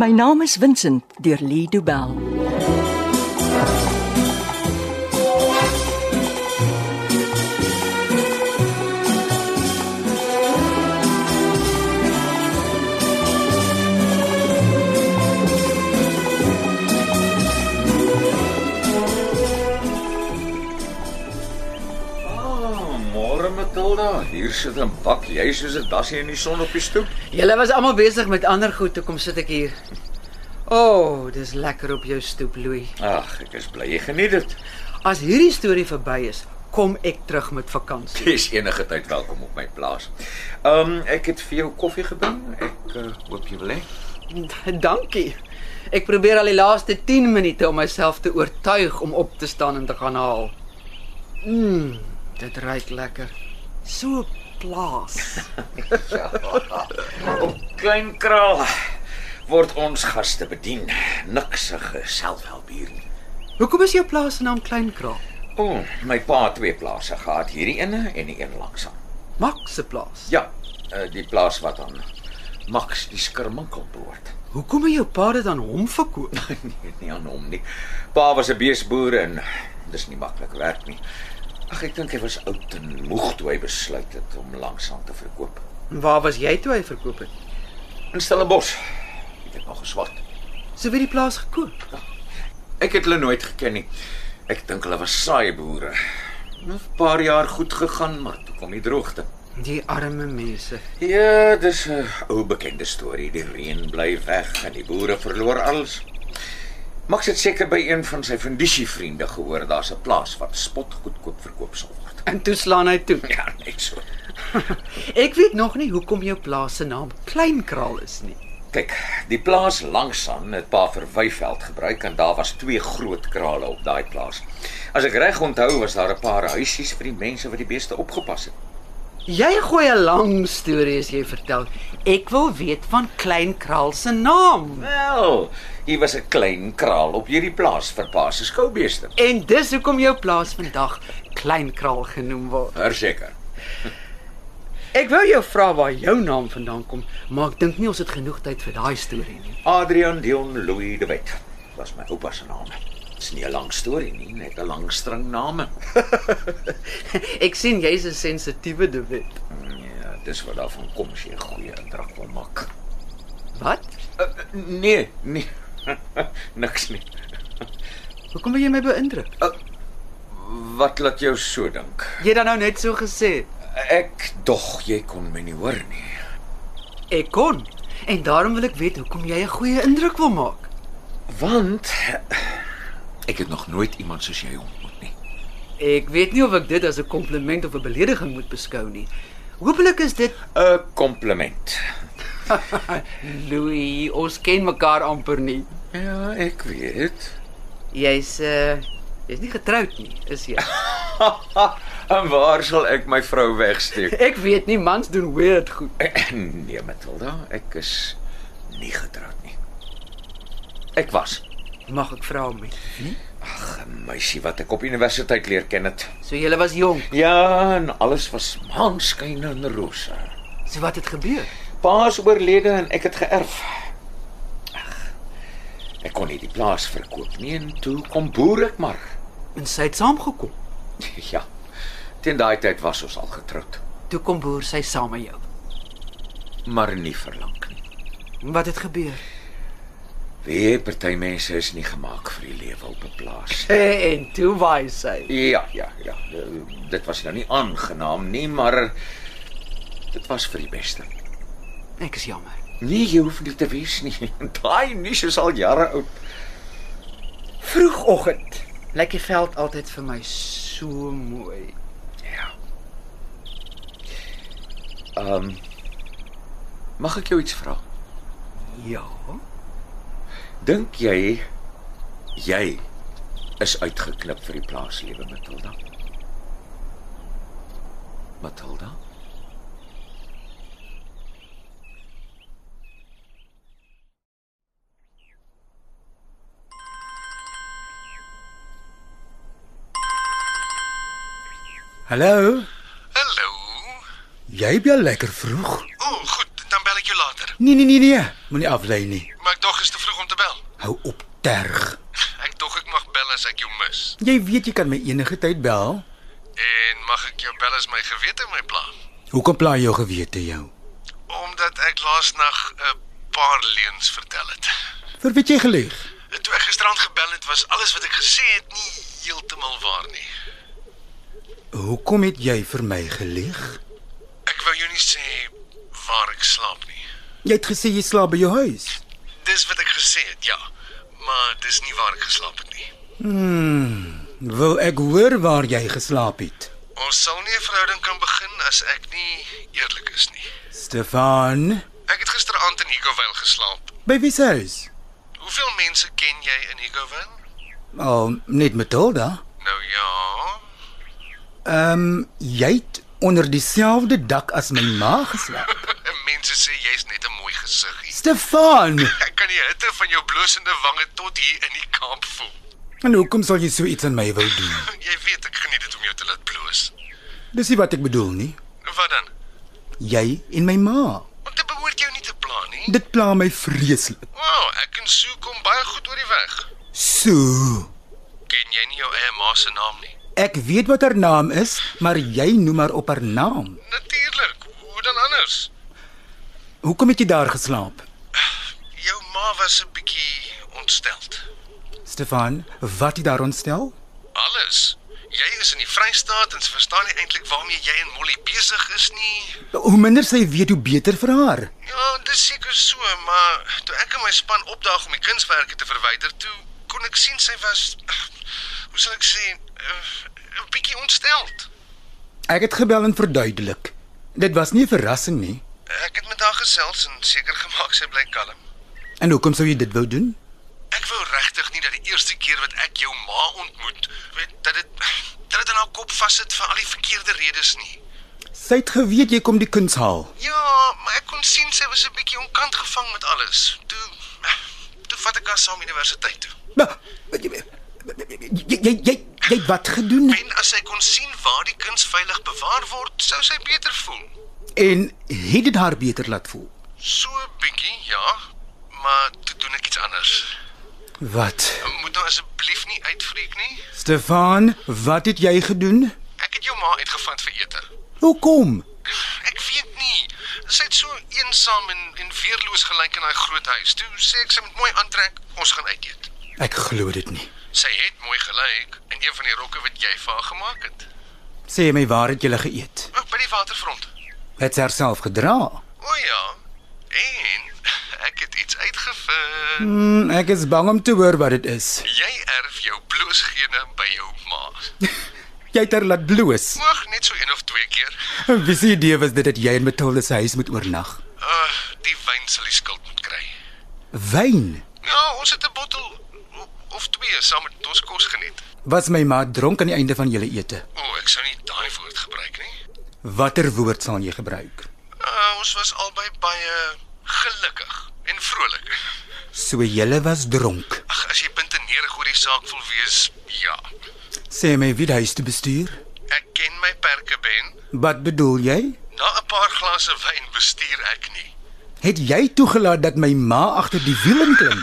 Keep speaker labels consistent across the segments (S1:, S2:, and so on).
S1: My naam is Vincent deur Lee Du Bell.
S2: Ah, Môre Matilda, hier sit 'n bak, jy soos 'n dassie in die son op die stoep.
S3: Julle was almal besig met ander goed, toe kom sit ek hier. O, oh, dis lekker op jou stoep, Louis.
S2: Ag, ek is bly jy geniet dit.
S3: As hierdie storie verby is, kom ek terug met vakansie.
S2: Jy is enige tyd welkom op my plaas. Ehm um, ek het vir jou koffie gebring. Ek uh, hoop jy wil hê.
S3: Dankie. Ek probeer al die laaste 10 minute om myself te oortuig om op te staan en te gaan haal. Mmm, dit ruik lekker. So plaas.
S2: Op Klein Kraal word ons gaste bedien. Niks se selfhelp hier nie.
S3: Hoekom is jou plaas se naam Kleinkraal?
S2: O, oh, my pa het twee plase gehad, hierdie ene en die een langs aan.
S3: Max se plaas.
S2: Ja, uh, die plaas wat aan Max die skerminkel behoort.
S3: Hoekom het jou pa dit aan hom verkoop?
S2: nee, nie aan hom nie. Pa was 'n beesboer en dis nie maklik werk nie. Ag ek dink hy was oud en moeg toe hy besluit het om langsaan te verkoop.
S3: Waar was jy toe hy verkoop het?
S2: In Stellenbosch. Ek het nog geswat.
S3: So wie die plaas gekoop?
S2: Ek het hulle nooit geken nie. Ek dink hulle was saai boere. Nou, 'n Paar jaar goed gegaan, maar toe kom die droogte.
S3: Die arme mense.
S2: Ja, dis 'n ou bekende storie. Die reën bly weg en die boere verloor alles. Max het seker by een van sy vindisie vriende gehoor daar's 'n plaas wat spotgoedkoop verkoop sal word.
S3: En toe slaan hy toe.
S2: Ja, net so.
S3: Ek weet nog nie hoekom jou plaas se naam Kleinkraal is nie.
S2: Kyk, die plaas langsaan het pa vir Wyveld gebruik en daar was twee groot krale op daai plaas. As ek reg onthou was daar 'n paar huisies vir die mense wat die beeste opgepas het.
S3: Jy gooi 'n lang storie as jy vertel. Ek wil weet van Kleinkraal se naam.
S2: Wel, hier was 'n klein kraal op hierdie plaas vir pa se skoubeeste.
S3: En dis hoekom jou plaas vandag Kleinkraal genoem word.
S2: Verseker.
S3: Ek wou jou vra waar jou naam vandaan kom, maar ek dink nie ons het genoeg tyd vir daai storie nie.
S2: Adrian Dion Louis de Wet was my oupa se naam. Dis nie 'n lang storie nie, net 'n lang string name.
S3: Ek sien jy's 'n sensitiewe duwet.
S2: Ja, dis wat daarvan kom as jy 'n goeie indruk wil maak.
S3: Wat?
S2: Uh, nee, nee. Niks nie.
S3: Hoekom wil jy my beïndruk?
S2: Wat laat jou so dink?
S3: Jy het dan nou net so gesê.
S2: Ek dog jy kon my nie hoor nie.
S3: Ek kon. En daarom wil ek weet hoekom jy 'n goeie indruk wil maak.
S2: Want eh, ek het nog nooit iemand soos jy ontmoet nie.
S3: Ek weet nie of ek dit as 'n kompliment of 'n belediging moet beskou nie. Hoopelik is dit
S2: 'n Kompliment.
S3: Louis, ons ken mekaar amper nie.
S2: Ja, ek weet.
S3: Jy's uh jy's nie getroud nie, is jy?
S2: en waar sal ek my vrou wegsteek?
S3: Ek weet nie, mans doen weird goed.
S2: nee, Matilda, ek is nie getroud nie. Ek was
S3: Mag ek vra hom? Nee.
S2: 'n meisie wat ek op universiteit leer ken het.
S3: So jy was jonk.
S2: Ja, en alles was maanskyn en rose.
S3: So wat het gebeur?
S2: Pa is oorlede en ek het geërf. Ag, Ek kon nie die plaas verkoop nie en toe kom boer ek maar.
S3: En sy het saamgekom.
S2: Ja. Teen daai tyd was ons al getroud,
S3: Toe kom boer sy saam met jou.
S2: maar nie vir lank nie.
S3: Wat het gebeur?
S2: Wie party mense is nie gemaak vir die lewe op 'n plaas.
S3: Eh, En toe waai sy.
S2: Ja, ja, ja. Dit was nou nie aangenaam nie, maar dit was vir die beste.
S3: Ek is jammer.
S2: Nee, jy hoef nie te wees nie. Daai nuus is al jare oud.
S3: Vroegoggend lyk die veld altyd vir my so mooi.
S2: Ja. Ehm um, Mag ek jou iets vra?
S3: Ja.
S2: Dink jy jy is uitgeknip vir die plaaslewe, Matilda? Matilda?
S4: Hallo,
S5: Hallo.
S4: jy bel lekker vroeg.
S5: O, goed, dan bel ek jou later.
S4: Nee nee nee nee, moenie aflei nie.
S5: Maar ek dog is te
S4: hou op terg.
S5: Ek tog ek mag bel as ek jou mis.
S4: Jy weet jy kan my enige tyd bel.
S5: En mag ek jou bel as my gewete my pla?
S4: Hoekom pla jou gewete jou?
S5: Omdat ek laasnag 'n paar leuns vertel het.
S4: Vir weet jy gelieg?
S5: Toe ek gisterand gebel het, was alles wat ek gesê het nie heeltemal waar nie.
S4: Hoekom het jy vir my gelieg?
S5: Ek wou jou nie sê waar ek slaap nie.
S4: Jy het gesê jy slaap by jou huis.
S5: Dis wat ek gesê het, ja. Maar dis nie waar ek geslaap het nie.
S4: Hmm, Wil ek hoor waar jy geslaap het?
S5: Ons sal nie 'n verhouding kan begin as ek nie eerlik is nie.
S4: Stefan,
S5: Ek het gisteraand in Higgovale geslaap.
S4: by wie se huis?
S5: Hoeveel mense ken jy in Higgovale?
S4: Al oh, net Matilda.
S5: Nou ja,
S4: Ehm um, jy het onder dieselfde dak as my ma geslaap.
S5: mense sê jy's net 'n mooi gesiggie.
S4: Stefan,
S5: Ek kan die hitte van jou blosende wange tot hier in die kamp voel.
S4: en hoekom sal jy so iets aan my wil doen?
S5: Jy weet ek geniet dit om jou te laat bloos.
S4: Dis nie wat ek bedoel nie.
S5: Wat dan?
S4: Jy en my ma.
S5: Want dit behoort jou nie te pla nie.
S4: Dit pla my vreeslik.
S5: Wow, ek en Sue kom baie goed oor die weg.
S4: So,
S5: Ken jy nie jou eie ma se naam nie?
S4: ek weet wat haar naam is, maar jy noem haar op haar naam.
S5: Natuurlik. Hoe dan anders?
S4: Hoekom het jy daar geslaap?
S5: Jou ma was 'n bietjie ontsteld.
S4: Stefan, wat het daar ontstel?
S5: Alles. Jy is in die Vrystaat en sy verstaan nie eintlik waarmee jy en Molly besig is nie.
S4: Hoe minder sy weet, hoe beter vir haar.
S5: Ja, dis seker so, maar toe ek en my span opdaag om die kunswerke te verwyder, toe kon ek sien sy was hoe sal ek sê, eh, 'n bietjie ontsteld.
S4: Ek het gebel en verduidelik. Dit was nie 'n verrassing nie.
S5: Ek het met haar gesels en seker gemaak sy bly kalm.
S4: En hoekom sou jy dit wou doen?
S5: Ek wou regtig nie dat die eerste keer wat ek jou ma ontmoet, weet dat dit dat dit in haar kop vassit vir al die verkeerde redes nie.
S4: Sy het geweet jy kom die kuns haal.
S5: Ja, maar ek kon sien sy was 'n bietjie onkant gevang met alles. Toe toe vat ek haar saam universiteit toe.
S4: Bah, Jy jy jy jy, jy het wat gedoen
S5: En as sy kon sien waar die kuns veilig bewaar word, sou sy beter voel.
S4: en het dit haar beter laat voel.
S5: So 'n bietjie, ja, maar toe doen ek iets anders.
S4: Wat?
S5: Moet nou asseblief nie uitfreek nie.
S4: Stefan, wat het jy gedoen?
S5: Ek het jou ma uitgevind vir ete.
S4: Hoekom?
S5: Ek weet nie. Sy het so eensaam en en weerloos gelyk in daai groot huis. Toe sê ek sy moet mooi aantrek, ons gaan uit eet.
S4: Ek glo dit nie.
S5: Sy het mooi gelyk in een van die rokke wat jy vir haar gemaak het.
S4: Sê my waar het jy geëet?
S5: Ook by die waterfront.
S4: Het sy herself gedra?
S5: O ja. En ek het iets uitgevind.
S4: Mm, ek is bang om te hoor wat dit is.
S5: Jy erf jou bloosgene by jou ma.
S4: Jy het haar laat bloos.
S5: Oog net so een of twee keer.
S4: Wie se idee was dit dat jy in Matilda se huis moet oornag?
S5: Uh, die wyn sal die skuld moet kry.
S4: Wyn.
S5: Ja, ons het 'n bottel o- of twee saam met ons kos geniet.
S4: Was my ma dronk aan die einde van julle ete?
S5: O, oh, ek sou nie daai woord gebruik nie.
S4: Watter woord sal jy gebruik?
S5: Uh, ons was albei baie gelukkig en vrolik.
S4: So julle was dronk.
S5: Ag, as jy puntenerig oor die saak wil wees, ja.
S4: Sê my wie die huis te bestuur?
S5: Ek ken my perke ben.
S4: Wat bedoel jy?
S5: Na 'n paar glase wyn bestuur ek nie.
S4: Het jy toegelaat dat my ma agter die wiel inklim?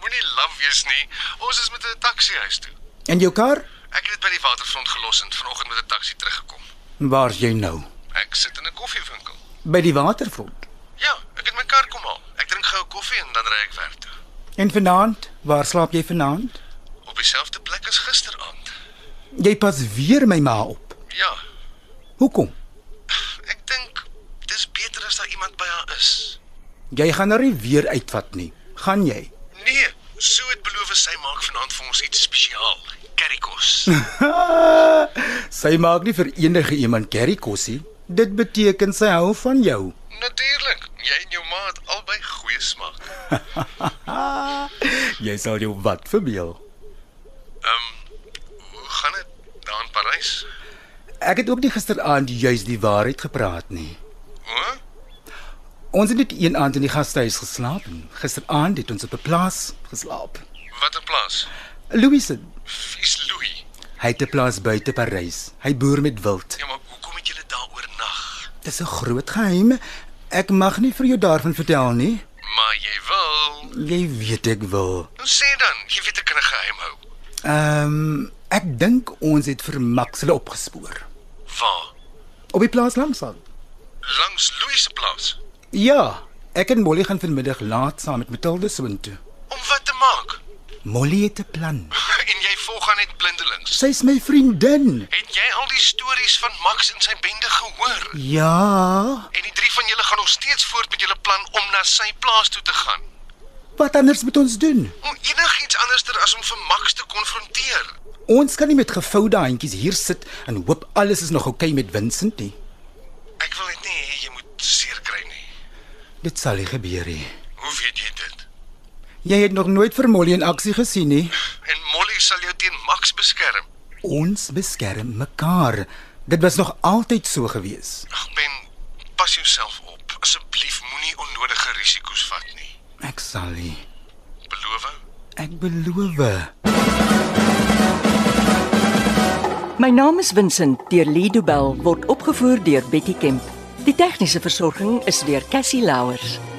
S5: Moenie laf wees nie. Ons is met 'n taxi huis toe.
S4: En jou kar?
S5: Ek het dit by die waterfront gelos en vanoggend met 'n taxi teruggekom.
S4: Waar's jy nou?
S5: Ek sit in 'n koffiewinkel.
S4: By die waterfront.
S5: Ja, ek het my kar kom haal. Ek drink goue koffie en dan ry ek werk toe.
S4: En vanaand, waar slaap jy vanaand?
S5: Op dieselfde plek as gisteraand.
S4: Jy pas weer my ma op.
S5: Ja,
S4: Hoekom?
S5: ek dink dis beter as daar iemand by haar is.
S4: Jy gaan haar nie weer uitvat nie. Gaan jy?
S5: Nee, so het beloof sy maak vanaand vir ons iets spesiaal. Currykos.
S4: Sy maak nie vir enige iemand curry kosie. Dit beteken sy hou van jou.
S5: Natuurlik. Jy en jou ma het albei goeie smaak.
S4: Jy sal jou wat verbeel.
S5: Ehm, Hoe gaan dit daar in Parys?
S4: Ek het ook nie gisteraand juis die waarheid gepraat nie.
S5: O?
S4: Ons het net een aand in die gastehuis geslaap en gisteraand het ons op 'n plaas geslaap.
S5: Wat 'n plaas.
S4: Louis se
S5: Vies Louis.
S4: hy het 'n plaas buite Parys. Hy boer met wild.
S5: Ja, maar hoekom het julle daar oornag?
S4: Dis 'n groot geheim. Ek mag nie vir jou daarvan vertel nie.
S5: Maar jy wil wil.
S4: Jy weet ek wil.
S5: Nou sê dan, jy weet ek kan 'n geheim hou.
S4: Ehm um, ek dink ons het vir Max hulle opgespoor.
S5: Waar?
S4: Op die plaas langs aan.
S5: Langs Louis se plaas.
S4: Ja, ek en Molly gaan vanmiddag laat saam met Matilda soontoe.
S5: Om wat te maak?
S4: Molly het 'n plan.
S5: en jy volg aan net blindelings.
S4: Sy's my vriendin.
S5: Het jy al die stories van Max en sy bende gehoor?
S4: Ja,
S5: En die drie van julle gaan nog steeds voort met julle plan om na sy plaas toe te gaan.
S4: wat anders moet ons doen?
S5: Om enigiets anderster as om vir Max te konfronteer.
S4: Ons kan nie met gevoude handjies hier sit en hoop alles is nog oukei okay met Vincent nie.
S5: Ek wil net nie hê jy moet seer kry nie.
S4: Dit sal nie gebeur nie.
S5: Hoe weet jy dit?
S4: Jy het nog nooit vir Molly in aksie gesien nie.
S5: En Molly sal jou teen Max beskerm.
S4: Ons beskerm mekaar. Dit was nog altyd so gewees.
S5: Ag Ben, pas jouself op. Asseblief moenie onnodige risiko's vat nie.
S4: Ek sal nie.
S5: Beloof?
S4: Ek beloof.
S1: My naam is Vincent deur Lido Bell word opgevoer deur Betty Kemp. Die tegniese versorging is deur Cassie Louers.